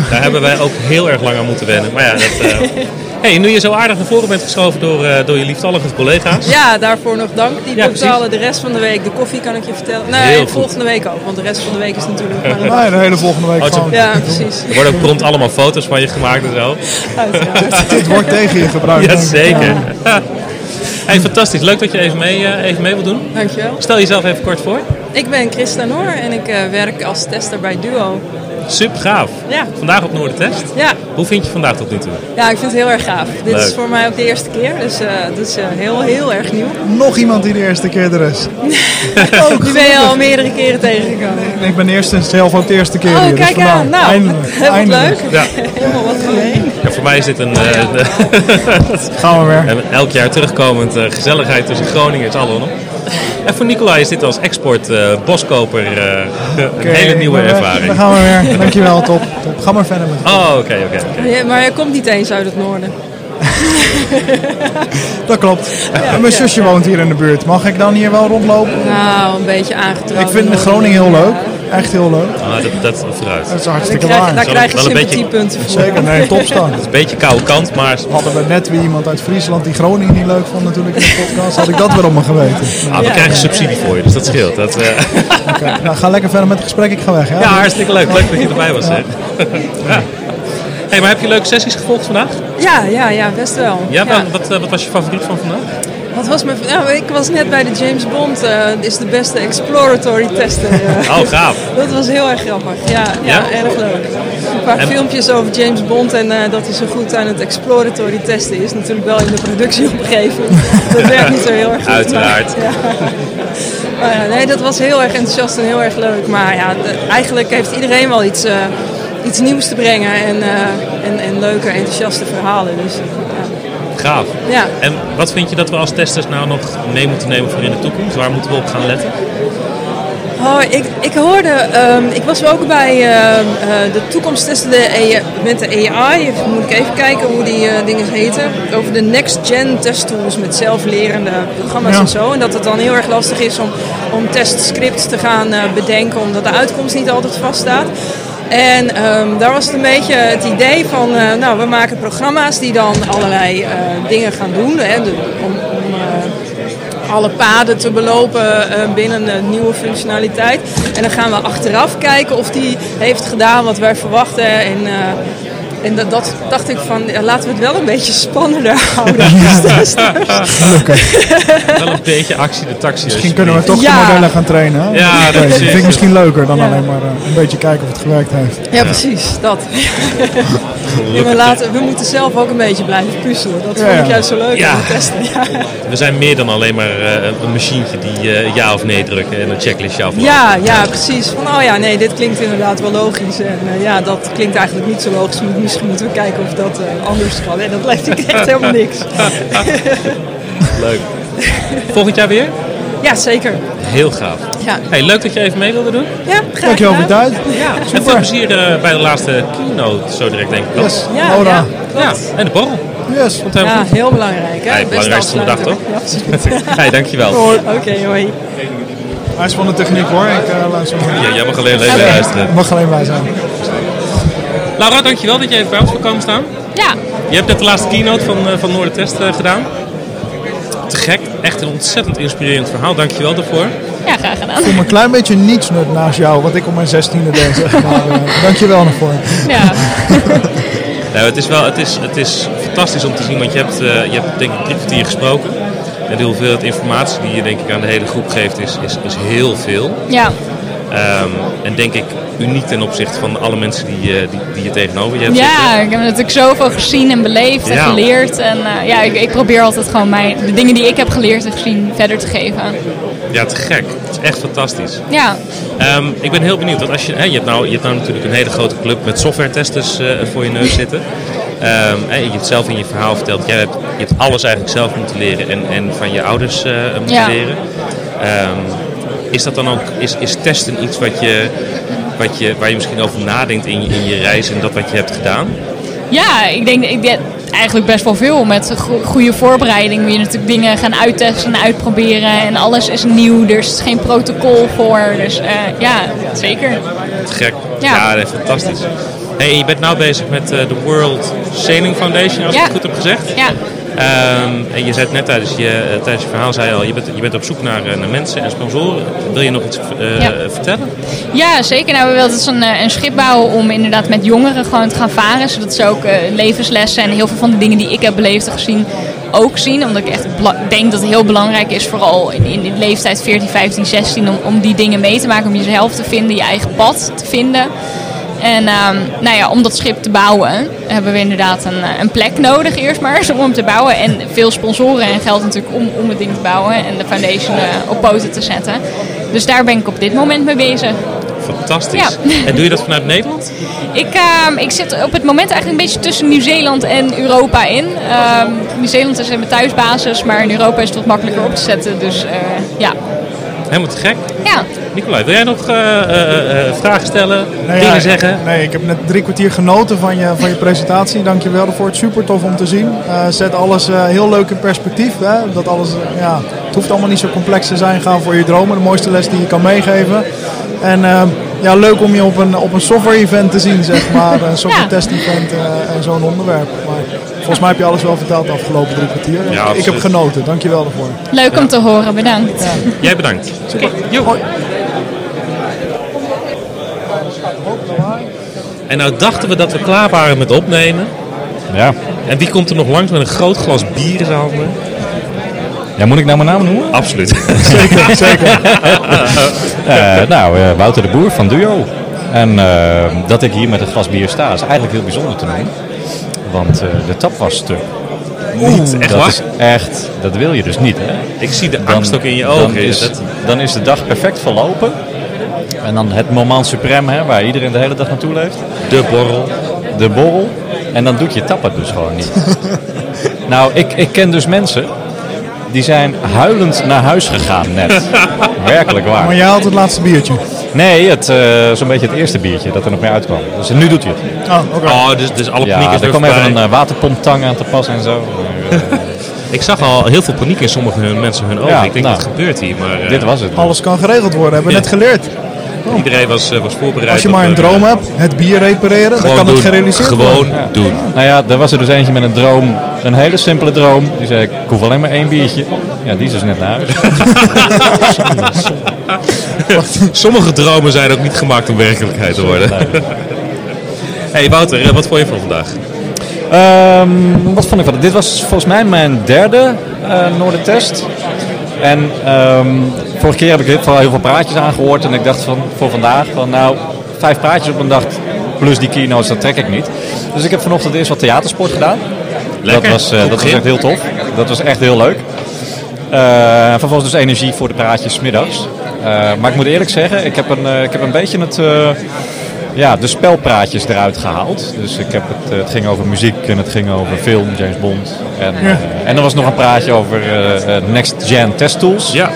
Speaker 1: Daar hebben wij ook heel erg lang aan moeten wennen. Maar ja, dat, eh, hey, nu je zo aardig naar voren bent geschoven door, eh, door je lieftallige collega's.
Speaker 9: Ja, daarvoor nog dank. Die
Speaker 1: Ja,
Speaker 9: betalen de rest van de week. De koffie kan ik je vertellen.
Speaker 1: Heel
Speaker 9: Nee,
Speaker 1: goed.
Speaker 9: volgende week ook. Want de rest van de week is natuurlijk maar een-
Speaker 3: Nou, de hele volgende week
Speaker 1: Oh, zo-
Speaker 3: gewoon.
Speaker 9: Ja, precies.
Speaker 1: Er worden ook prompt allemaal foto's van je gemaakt en zo.
Speaker 9: Uiteraard.
Speaker 3: Het wordt tegen je gebruikt. denk ik.
Speaker 1: Jazeker. Hey, fantastisch. Leuk dat je even mee, eh, even mee wil doen.
Speaker 9: Dankjewel.
Speaker 1: Stel jezelf even kort voor.
Speaker 9: Ik ben Christa Noor en ik eh, werk als tester bij Duo.
Speaker 1: Super gaaf.
Speaker 9: Ja.
Speaker 1: Vandaag op Noordertest.
Speaker 9: Ja,
Speaker 1: Hoe vind je vandaag tot nu toe?
Speaker 9: ja ik vind het heel erg gaaf. Dit
Speaker 1: Leuk.
Speaker 9: is voor mij ook de eerste keer, dus eh dat is eh, heel, heel erg nieuw.
Speaker 3: Nog iemand die de eerste keer er is. Ook
Speaker 9: Die ben je al meerdere keren tegengekomen.
Speaker 3: Ik ben eerst en zelf ook de eerste keer
Speaker 9: Oh,
Speaker 3: hier. dus
Speaker 9: kijk
Speaker 3: vandaar.
Speaker 9: aan. Nou,
Speaker 3: eindelijk.
Speaker 9: heel
Speaker 3: eindelijk.
Speaker 9: leuk.
Speaker 1: Ja.
Speaker 9: Helemaal wat gemeen.
Speaker 1: Ja, voor mij is dit een eh,
Speaker 3: Gaan we weer.
Speaker 1: en elk jaar terugkomend eh, gezelligheid tussen Groningen en Allen. En voor Nicolai is dit als export eh, boskoper eh, een hele
Speaker 3: Oké,
Speaker 1: nieuwe
Speaker 3: ik ben weg.
Speaker 1: ervaring.
Speaker 3: Dan gaan we weer. Dankjewel, top. top. Ga maar verder met
Speaker 1: Oh, oké, oké. oké.
Speaker 9: Ja, maar hij komt niet eens uit het noorden.
Speaker 3: Dat klopt. En mijn zusje woont hier in de buurt. Mag ik dan hier wel rondlopen?
Speaker 9: Nou, een beetje aangetrokken.
Speaker 3: Ik vind Groningen heel leuk. Echt heel leuk.
Speaker 1: Ah, dat, dat vooruit.
Speaker 3: Dat
Speaker 1: Het
Speaker 3: is
Speaker 9: Daar
Speaker 3: hartstikke
Speaker 9: krijg,
Speaker 3: waar.
Speaker 9: daar
Speaker 1: Zal
Speaker 9: krijg je
Speaker 1: ik wel een beetje-
Speaker 9: sympathiepunten voor.
Speaker 3: Zeker, nee, topstaan.
Speaker 1: is een beetje koude kant, maar
Speaker 3: Hadden we net weer iemand uit Friesland die Groningen niet leuk vond natuurlijk in de podcast, had ik dat weer op me geweten.
Speaker 1: ah, we
Speaker 9: Ja,
Speaker 1: krijgen
Speaker 9: ja,
Speaker 1: subsidie voor je, dus dat scheelt. Dat, eh,
Speaker 3: Oké, nou, ga lekker verder met het gesprek, ik ga weg. Hè?
Speaker 1: ja, hartstikke leuk. Leuk dat je erbij was. Hè. Hey, maar heb je leuke sessies gevolgd vandaag?
Speaker 9: Ja, ja, ja, best wel.
Speaker 1: Ja, wel, Wat, eh, wat was je favoriet van vandaag?
Speaker 9: Wat was mijn... Nou, ik was net bij de James Bond. eh is de beste exploratory tester. eh.
Speaker 1: Oh, gaaf.
Speaker 9: Dat was heel erg grappig. Ja, ja,
Speaker 1: Ja?
Speaker 9: erg leuk. Een paar
Speaker 1: En-
Speaker 9: filmpjes over James Bond en eh, dat hij zo goed aan het exploratory testen is. Natuurlijk wel in de productie opgegeven. Dat werkt niet zo heel erg goed. maar-
Speaker 1: Uiteraard.
Speaker 9: ja. Maar ja, nee, dat was heel erg enthousiast en heel erg leuk. Maar ja, de- eigenlijk heeft iedereen wel iets, eh, iets nieuws te brengen. En, eh, en, en leuke, enthousiaste verhalen. Dus, ja.
Speaker 1: Gaaf.
Speaker 9: Ja.
Speaker 1: En wat vind je dat we als testers nou nog mee moeten nemen voor in de toekomst? Waar moeten we op gaan letten?
Speaker 9: Oh, ik, ik hoorde, ehm, ik was ook bij ehm, eh, de toekomsttesten de AI met de AI. Moet ik even kijken hoe die eh, dingen heten. Over de next-gen testtools met zelflerende programma's
Speaker 3: Ja.
Speaker 9: en zo. En dat het dan heel erg lastig is om, om testscripts te gaan eh, bedenken, omdat de uitkomst niet altijd vaststaat. En ehm, daar was het een beetje het idee van, eh, nou, we maken programma's die dan allerlei eh, dingen gaan doen. Hè, de- om, om, eh, alle paden te belopen eh, binnen een nieuwe functionaliteit. En dan gaan we achteraf kijken of die heeft gedaan wat wij verwachten. En, eh, en dat, dat dacht ik van, ja, laten we het wel een beetje spannender houden. Dus
Speaker 1: Wel een beetje actie de taxi.
Speaker 3: Misschien kunnen we toch
Speaker 9: Ja.
Speaker 3: de modellen gaan trainen. Hè?
Speaker 1: Ja,
Speaker 3: Oké,
Speaker 1: precies.
Speaker 3: Dat vind ik misschien leuker dan
Speaker 9: Ja.
Speaker 3: alleen maar eh, een beetje kijken of het gewerkt heeft.
Speaker 9: ja, precies, dat. Ja, maar laten, we moeten zelf ook een beetje blijven puzzelen. Dat
Speaker 3: Ja,
Speaker 9: vond ik
Speaker 3: ja.
Speaker 9: juist zo leuk
Speaker 1: Ja.
Speaker 9: om te testen. Ja,
Speaker 1: We zijn meer dan alleen maar eh, een machientje die eh, ja of nee drukken en een checklistje afmaken.
Speaker 9: ja, ja, precies. Van, oh ja, nee, dit klinkt inderdaad wel logisch. En eh, ja, dat klinkt eigenlijk niet zo logisch. Misschien moeten we kijken of dat eh, anders kan. En dat lijkt ik echt helemaal niks.
Speaker 1: Leuk. Volgend jaar weer?
Speaker 9: Ja, zeker.
Speaker 1: Heel gaaf.
Speaker 9: Ja.
Speaker 1: Hey, leuk dat je even mee wilde doen.
Speaker 9: Ja, graag
Speaker 3: Eh, Dankjewel voor
Speaker 9: gedaan.
Speaker 3: het tijd.
Speaker 1: Ja, en veel plezier eh, bij de laatste keynote, zo direct denk ik. wel.
Speaker 3: Yes,
Speaker 9: Ja,
Speaker 3: Laura.
Speaker 9: ja,
Speaker 1: Ja,
Speaker 9: klopt.
Speaker 1: en de borrel.
Speaker 3: Yes.
Speaker 7: Komt helemaal
Speaker 9: Ja,
Speaker 7: goed.
Speaker 9: heel belangrijk. Hè?
Speaker 1: Ja,
Speaker 9: Beste
Speaker 1: het belangrijkste van de dag,
Speaker 9: afsluiter. Ja, absoluut.
Speaker 1: Hey, dankjewel.
Speaker 9: Oké, hoi.
Speaker 3: Hij is van de techniek hoor. Ik eh, luister maar.
Speaker 1: Ja, jij mag alleen
Speaker 9: Oké.
Speaker 1: lezen luisteren.
Speaker 3: Het mag alleen wij zijn.
Speaker 1: Laura, dankjewel dat je even bij ons wil komen staan.
Speaker 10: Ja,
Speaker 1: Je hebt net de laatste keynote van, eh van Noordtest eh, gedaan. Te gek. Echt een ontzettend inspirerend verhaal. Dankjewel daarvoor.
Speaker 10: ja, graag gedaan.
Speaker 3: Ik voel me een klein beetje niets nut naast jou, wat ik op mijn 16e deed. Zeg maar. eh, dankjewel nog voor.
Speaker 10: Ja,
Speaker 1: Nou, het, is wel, het, is, het is fantastisch om te zien, want je hebt, eh, je hebt denk ik drie kwartier gesproken. En de hoeveelheid informatie die je denk ik aan de hele groep geeft is, is, is heel veel.
Speaker 10: ja.
Speaker 1: Ehm, en denk ik uniek ten opzichte van alle mensen die, eh, die, die je tegenover je hebt
Speaker 10: ja
Speaker 1: zitten.
Speaker 10: ik heb natuurlijk zoveel gezien en beleefd en
Speaker 1: Ja.
Speaker 10: geleerd. En eh, ja, ik, ik probeer altijd gewoon mijn, de dingen die ik heb geleerd en gezien verder te geven.
Speaker 1: Ja, te gek. Het is echt fantastisch.
Speaker 10: Ja,
Speaker 1: Ehm, ik ben heel benieuwd, want als je, hè, je, hebt nou, je hebt nou natuurlijk een hele grote club met software-testers eh, voor je neus zitten. Ehm, hè, je hebt zelf in je verhaal verteld, jij hebt, je hebt alles eigenlijk zelf moeten leren en, en van je ouders eh, moeten
Speaker 10: Ja.
Speaker 1: leren. Ehm, is dat dan ook, is, is testen iets wat je, wat je, waar je misschien over nadenkt in je, in je reis en dat wat je hebt gedaan?
Speaker 10: ja ik denk ik deed eigenlijk best wel veel. Met een go- goede voorbereiding moet je natuurlijk dingen gaan uittesten en uitproberen. En alles is nieuw, dus er is geen protocol voor. Dus eh, ja, zeker.
Speaker 1: Te gek.
Speaker 10: Ja.
Speaker 1: nee, fantastisch. Hey, je bent nou bezig met eh, de World Sailing Foundation, als
Speaker 10: Ja.
Speaker 1: ik het goed heb gezegd.
Speaker 10: Ja,
Speaker 1: Ehm, en je zei het net tijdens je, eh, tijdens je verhaal, zei je al, je bent, je bent op zoek naar, eh, naar mensen en sponsoren. Wil je nog iets eh,
Speaker 10: Ja.
Speaker 1: vertellen?
Speaker 10: Ja, zeker. Nou, we wilden dus een, eh, een schip bouwen om inderdaad met jongeren gewoon te gaan varen. Zodat ze ook eh, levenslessen en heel veel van de dingen die ik heb beleefd en gezien ook zien. Omdat ik echt bela- denk dat het heel belangrijk is, vooral in, in de leeftijd 14, 15, 16, om, om die dingen mee te maken. Om jezelf te vinden, je eigen pad te vinden. En ehm, nou ja, om dat schip te bouwen hebben we inderdaad een, eh, een plek nodig eerst maar om hem te bouwen. En veel sponsoren en geld natuurlijk om, om het ding te bouwen en de foundation eh, op poten te zetten. Dus daar ben ik op dit moment mee bezig.
Speaker 1: Fantastisch.
Speaker 10: Ja.
Speaker 1: En doe je dat vanuit Nederland?
Speaker 10: Ik, ehm, ik zit op het moment eigenlijk een beetje tussen Nieuw-Zeeland en Europa in. Ehm, Nieuw-Zeeland is mijn thuisbasis, maar in Europa is het wat makkelijker op te zetten. Dus eh, ja.
Speaker 1: Helemaal te gek.
Speaker 10: ja.
Speaker 1: Nicolai, wil jij nog eh, eh, eh, vragen stellen,
Speaker 3: Nee,
Speaker 1: dingen
Speaker 3: Nou ja,
Speaker 1: zeggen?
Speaker 3: Nee, ik heb net drie kwartier genoten van je, van je presentatie. Dankjewel daarvoor. Het is super tof om te zien. Eh, zet alles eh, heel leuk in perspectief. Hè? Dat alles, eh, ja, het hoeft allemaal niet zo complex te zijn. Gaan voor je dromen. De mooiste les die je kan meegeven. En eh, ja, leuk om je op een, op een software event te zien, zeg maar. Een software
Speaker 10: Ja.
Speaker 3: test event eh, en zo'n onderwerp. Maar volgens mij heb je alles wel verteld de afgelopen drie kwartier.
Speaker 1: Ja,
Speaker 3: ik
Speaker 1: absoluut.
Speaker 3: heb genoten. Dankjewel daarvoor.
Speaker 10: Leuk om te horen, bedankt.
Speaker 1: Jij bedankt. Jo. En nou dachten we dat we klaar waren met opnemen.
Speaker 7: Ja.
Speaker 1: En wie komt er nog langs met een groot glas bier in zijn handen?
Speaker 7: ja, moet ik nou mijn naam noemen?
Speaker 1: Absoluut.
Speaker 7: zeker, zeker. nou, eh, Wouter de Boer van Duo. En eh, dat ik hier met een glas bier sta is eigenlijk heel bijzonder te noemen. Want eh, de tap was stuk. Niet,
Speaker 1: echt
Speaker 7: dat
Speaker 1: waar?
Speaker 7: Is echt, dat wil je dus niet, hè?
Speaker 1: Ik zie de angst ook in je ogen.
Speaker 7: Dan is,
Speaker 1: Dat-
Speaker 7: dan is de dag perfect verlopen. En dan het moment suprem, hè, waar iedereen de hele dag naartoe leeft. De borrel. De borrel. En dan doet je tappen dus gewoon niet. nou, ik, ik ken dus mensen die zijn huilend naar huis gegaan net. Werkelijk waar.
Speaker 3: Maar jij had het laatste biertje.
Speaker 7: Nee, het, eh, zo'n beetje het eerste biertje dat er nog meer uitkwam. Dus nu doet hij het.
Speaker 3: Oh, oké.
Speaker 1: Oh, dus, dus alle paniek
Speaker 7: Ja,
Speaker 1: is
Speaker 7: er
Speaker 1: er
Speaker 7: kwam even
Speaker 1: voorbij.
Speaker 7: een eh, waterpomptang aan te pas en zo. Maar, eh,
Speaker 1: Ik zag al heel veel paniek in sommige hun- mensen hun ogen.
Speaker 7: Ja,
Speaker 1: ik denk,
Speaker 7: nou.
Speaker 1: wat gebeurt hier? Maar eh,
Speaker 7: dit was het.
Speaker 3: Alles kan geregeld worden. Hebben we
Speaker 1: Ja.
Speaker 3: net geleerd.
Speaker 1: iedereen was, eh, was voorbereid.
Speaker 3: Als je maar
Speaker 1: op,
Speaker 3: een
Speaker 1: eh,
Speaker 3: droom hebt, het bier repareren, dan
Speaker 1: Gewoon
Speaker 3: kan
Speaker 1: doen.
Speaker 3: het gerealiseerd
Speaker 1: Gewoon
Speaker 3: worden.
Speaker 1: doen.
Speaker 7: Nou ja, er was er dus eentje met een droom. Een hele simpele droom. Die zei, ik hoef alleen maar één biertje. Ja, die is dus net naar huis.
Speaker 1: Sommige dromen zijn ook niet gemaakt om werkelijkheid te worden. hey Wouter, eh, wat vond je van vandaag?
Speaker 7: Ehm, wat vond ik van het? Dit was volgens mij mijn derde eh Noordertest. En ehm, vorige keer heb ik vooral heel veel praatjes aangehoord. En ik dacht van, voor vandaag, van nou, vijf praatjes op een dag plus die keynotes, dat trek ik niet. Dus ik heb vanochtend eerst wat theatersport gedaan.
Speaker 1: Lekker.
Speaker 7: Dat, was, eh, dat
Speaker 1: Goed
Speaker 7: was
Speaker 1: begin.
Speaker 7: echt heel tof. Dat was echt heel leuk. Eh, vervolgens dus energie voor de praatjes 's middags. Eh, maar ik moet eerlijk zeggen, ik heb een, eh, ik heb een beetje het... eh, ja, de spelpraatjes eruit gehaald. Dus ik heb het, eh, het ging over muziek en het ging over film, James Bond. En, eh, en er was nog een praatje over eh, eh, Next Gen Test Tools.
Speaker 1: Ja,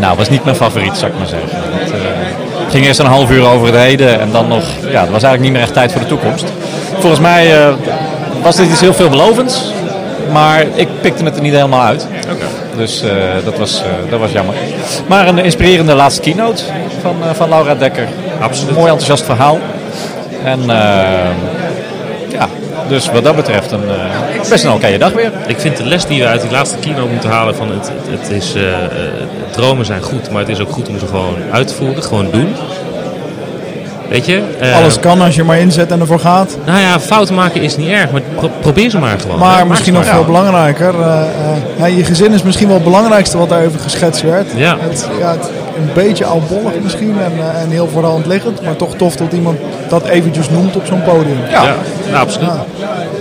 Speaker 7: Nou, was niet mijn favoriet, zou ik maar zeggen. Het eh, ging eerst een half uur over het heden en dan nog... Ja, het was eigenlijk niet meer echt tijd voor de toekomst. Volgens mij eh, was dit iets heel veelbelovends. Maar ik pikte het er niet helemaal uit. Dus eh, dat, was, eh, dat was jammer. Maar een inspirerende laatste keynote van, eh, van Laura Dekker. Absoluut. Mooi enthousiast verhaal. En eh, ja, dus wat dat betreft een, eh, best een oké dag weer.
Speaker 1: Ik vind de les die we uit die laatste keynote moeten halen van het, het, het is, eh, eh, dromen zijn goed, maar het is ook goed om ze gewoon uit te voeren, gewoon doen. Weet je? Eh,
Speaker 3: Alles kan als je maar inzet en ervoor gaat.
Speaker 1: Nou ja, fouten maken is niet erg, maar pro- probeer ze maar gewoon.
Speaker 3: Maar
Speaker 1: Maak
Speaker 3: misschien
Speaker 1: ze
Speaker 3: nog
Speaker 1: maar.
Speaker 3: veel belangrijker. eh, eh, ja, je gezin is misschien wel het belangrijkste wat daarover geschetst werd.
Speaker 1: Ja.
Speaker 3: Het, ja, het- een beetje albollig misschien en, eh, en heel voor de hand liggend. Maar toch tof dat iemand dat eventjes noemt op zo'n podium.
Speaker 1: Ja, ja. nou, absoluut.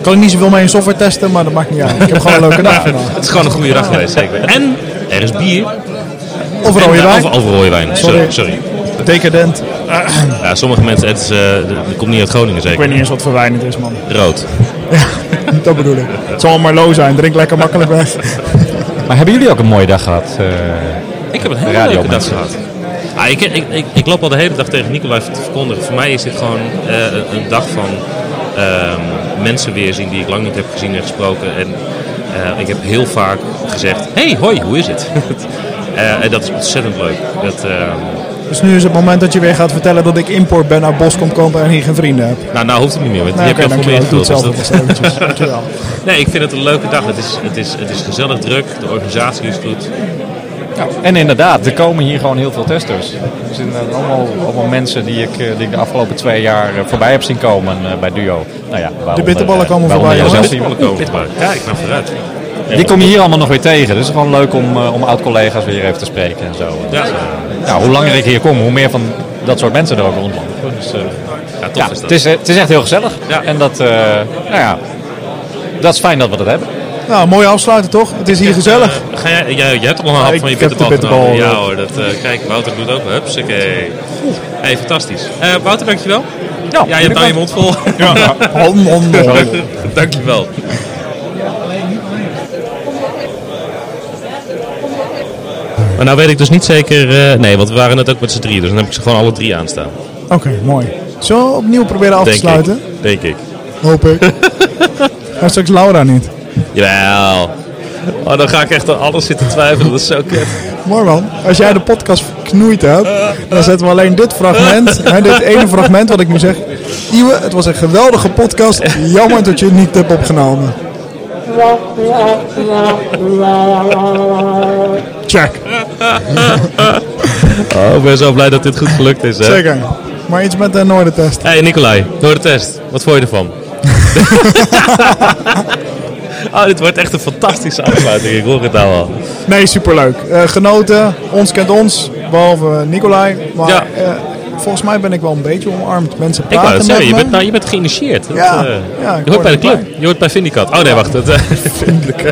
Speaker 3: Kan ik niet zoveel mee in software testen, maar dat maakt niet uit. Ik heb gewoon een leuke dag gedaan.
Speaker 1: Het is gewoon een goede dag geweest, zeker. En er is bier.
Speaker 3: Of rode
Speaker 1: En-
Speaker 3: wijn.
Speaker 1: Of, of rode wijn, sorry.
Speaker 3: Sorry.
Speaker 1: sorry.
Speaker 3: Decadent.
Speaker 1: Ja, sommige mensen, het, is, eh, het komt niet uit Groningen
Speaker 3: Ik weet
Speaker 1: zeker.
Speaker 3: niet eens wat voor wijn het is, man.
Speaker 1: Rood.
Speaker 3: Dat bedoel ik. Het zal maar low zijn. Drink lekker makkelijk weg.
Speaker 7: Maar hebben jullie ook een mooie dag gehad? eh?
Speaker 1: Ik heb een hele
Speaker 7: Radio
Speaker 1: leuke dag
Speaker 7: mensen.
Speaker 1: gehad. Ah, ik, ik, ik, ik loop al de hele dag tegen Nicolai te verkondigen. Voor mij is dit gewoon eh, een- een dag van ehm, mensen weerzien die ik lang niet heb gezien en gesproken. En eh, ik heb heel vaak gezegd, hey, hoi, hoe is het? Eh, en dat is ontzettend leuk. Dat, ehm,
Speaker 3: Dus nu is het moment dat je weer gaat vertellen dat ik import ben uit Boskom Kampen en hier geen vrienden heb.
Speaker 1: nou, nou hoeft het niet meer, want
Speaker 3: Nou,
Speaker 1: die
Speaker 3: oké,
Speaker 1: heb je al voor me
Speaker 3: dankjewel. Ik doe
Speaker 1: ingevuld.
Speaker 3: het zelf nog
Speaker 1: dus dat-
Speaker 3: eens eventjes. Dankjewel.
Speaker 1: nee, ik vind het een leuke dag. Het is, het is, het is gezellig druk, de organisatie is goed.
Speaker 7: En inderdaad, er komen hier gewoon heel veel testers. Er zijn eh, allemaal, allemaal mensen die ik, eh, die ik de afgelopen twee jaar eh, voorbij heb zien komen eh, bij Duo. Nou ja, waaronder,
Speaker 3: bitterballen
Speaker 7: eh,
Speaker 3: komen voorbij,
Speaker 7: waaronder jezelf.
Speaker 1: Zelfs iemand komen voorbij. Kijk, nou vooruit.
Speaker 7: Die kom je hier allemaal nog weer tegen. Dus het is gewoon leuk om, eh, om oud-collega's weer even te spreken en zo.
Speaker 1: Ja,
Speaker 7: Nou, hoe langer ik hier kom, hoe meer van dat soort mensen er ook rondlopen. Dus, eh,
Speaker 1: ja, tof
Speaker 7: ja,
Speaker 1: is dat.
Speaker 7: het, is, eh, het is echt heel gezellig.
Speaker 1: Ja.
Speaker 7: En dat, eh, nou ja, dat is fijn dat we dat hebben.
Speaker 3: Nou, mooi afsluiten toch? Het is hier gezellig.
Speaker 1: Eh, ga jij, jij, jij hebt al een hap
Speaker 3: ik
Speaker 1: van je
Speaker 3: heb de
Speaker 1: bitterbal genomen.
Speaker 3: bitterbal,
Speaker 1: Ja
Speaker 3: ja.
Speaker 1: hoor, dat, eh, kijk, Wouter doet ook. Hupsakee. Hey, fantastisch. Eh, Wouter, dankjewel. Ja, je hebt nou je mond vol. Ja.
Speaker 3: Hon, hon, hon.
Speaker 1: dankjewel. Maar nou weet ik dus niet zeker... eh, nee, want we waren net ook met z'n drie. Dus dan heb ik ze gewoon alle drie aanstaan.
Speaker 3: Oké, mooi. Zullen we opnieuw proberen af te
Speaker 1: Denk
Speaker 3: sluiten?
Speaker 1: ik. Denk ik.
Speaker 3: Hoop ik. Maar straks Laura niet.
Speaker 1: Jawel. Oh, dan ga ik echt aan alles zitten twijfelen. Dat is zo kut.
Speaker 3: Mooi man. Als jij de podcast verknoeid hebt, dan zetten we alleen dit fragment. Hè, dit ene fragment wat ik moet zeggen. Iwe, het was een geweldige podcast. Jammer dat je het niet hebt opgenomen. Check.
Speaker 1: Oh, ik ben zo blij dat dit goed gelukt is. Hè?
Speaker 3: Zeker. Maar iets met de Noordentest.
Speaker 1: Hey Nicolai, door de test. Wat vond je ervan? oh, dit wordt echt een fantastische afsluiting. Ik hoor het nou al.
Speaker 3: Nee, superleuk. Eh, genoten. Ons kent ons. Behalve Nicolai. Maar
Speaker 1: Ja.
Speaker 3: eh, volgens mij ben ik wel een beetje omarmd. Mensen
Speaker 1: Ik
Speaker 3: praten
Speaker 1: wou het
Speaker 3: met
Speaker 1: zeggen, je
Speaker 3: me.
Speaker 1: bent, nou, je bent geïnitieerd. Dat,
Speaker 3: Ja,
Speaker 1: eh,
Speaker 3: ja, ik
Speaker 1: je hoort bij de
Speaker 3: hoor
Speaker 1: club. Je hoort bij Vindicat. Oh nee, wacht. Dat, eh,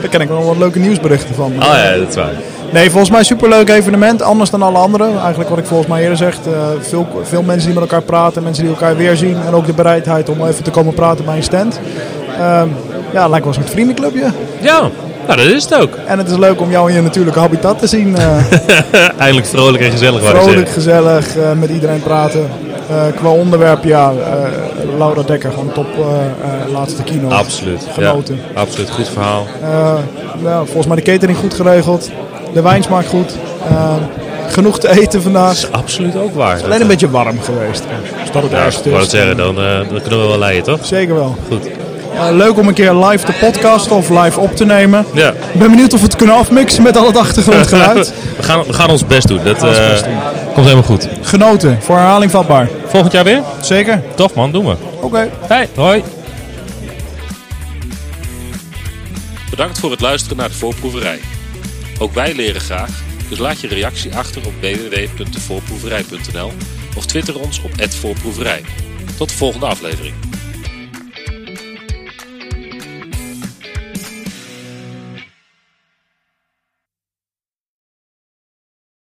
Speaker 3: Daar ken ik wel wat leuke nieuwsberichten van.
Speaker 1: oh ja, dat is waar.
Speaker 3: Nee, volgens mij superleuk evenement. Anders dan alle andere. Eigenlijk wat ik volgens mij eerder zeg. eh, veel, veel mensen die met elkaar praten. Mensen die elkaar weer zien. En ook de bereidheid om even te komen praten bij een stand. Ehm, ja, lijkt wel een soort vriendenclubje.
Speaker 1: Ja, nou dat is het ook.
Speaker 3: En het is leuk om jou in je natuurlijke habitat te zien. eh.
Speaker 1: E, Eindelijk vrolijk en gezellig. wou ik
Speaker 3: Vrolijk,
Speaker 1: zeggen.
Speaker 3: gezellig, eh, met iedereen praten. Eh, qua onderwerp, ja, eh, Laura Dekker, gewoon top eh, eh, laatste keynote.
Speaker 1: Absoluut.
Speaker 3: Genoten.
Speaker 1: Ja, absoluut, goed verhaal.
Speaker 3: Eh, nou, volgens mij de catering goed geregeld. De wijnsmaak goed. Eh, genoeg te eten vandaag.
Speaker 1: Dat eh, is absoluut ook waar.
Speaker 3: Alleen een beetje warm geweest. Dus dat het
Speaker 1: Ja,
Speaker 3: ergste
Speaker 1: ik wou het
Speaker 3: is.
Speaker 1: zeggen, dan, eh, dan kunnen we wel leiden, toch?
Speaker 3: Zeker wel.
Speaker 1: Goed.
Speaker 3: Eh, leuk om een keer live te podcasten of live op te nemen.
Speaker 1: Ja. Eh,
Speaker 3: Ik ben benieuwd of we het kunnen afmixen met al het achtergrondgeluid.
Speaker 1: We gaan, we gaan ons best doen. Dat
Speaker 3: ons
Speaker 1: eh,
Speaker 3: best doen.
Speaker 1: komt helemaal goed.
Speaker 3: Genoten, voor herhaling vatbaar.
Speaker 1: Volgend jaar weer?
Speaker 3: Zeker?
Speaker 1: Tof man, doen we.
Speaker 3: Oké.
Speaker 1: Hey, hoi.
Speaker 2: Bedankt voor het luisteren naar de voorproeverij. Ook wij leren graag, dus laat je reactie achter op www.devoorproeverij.nl of twitter ons op @voorproeverij. Tot de volgende aflevering.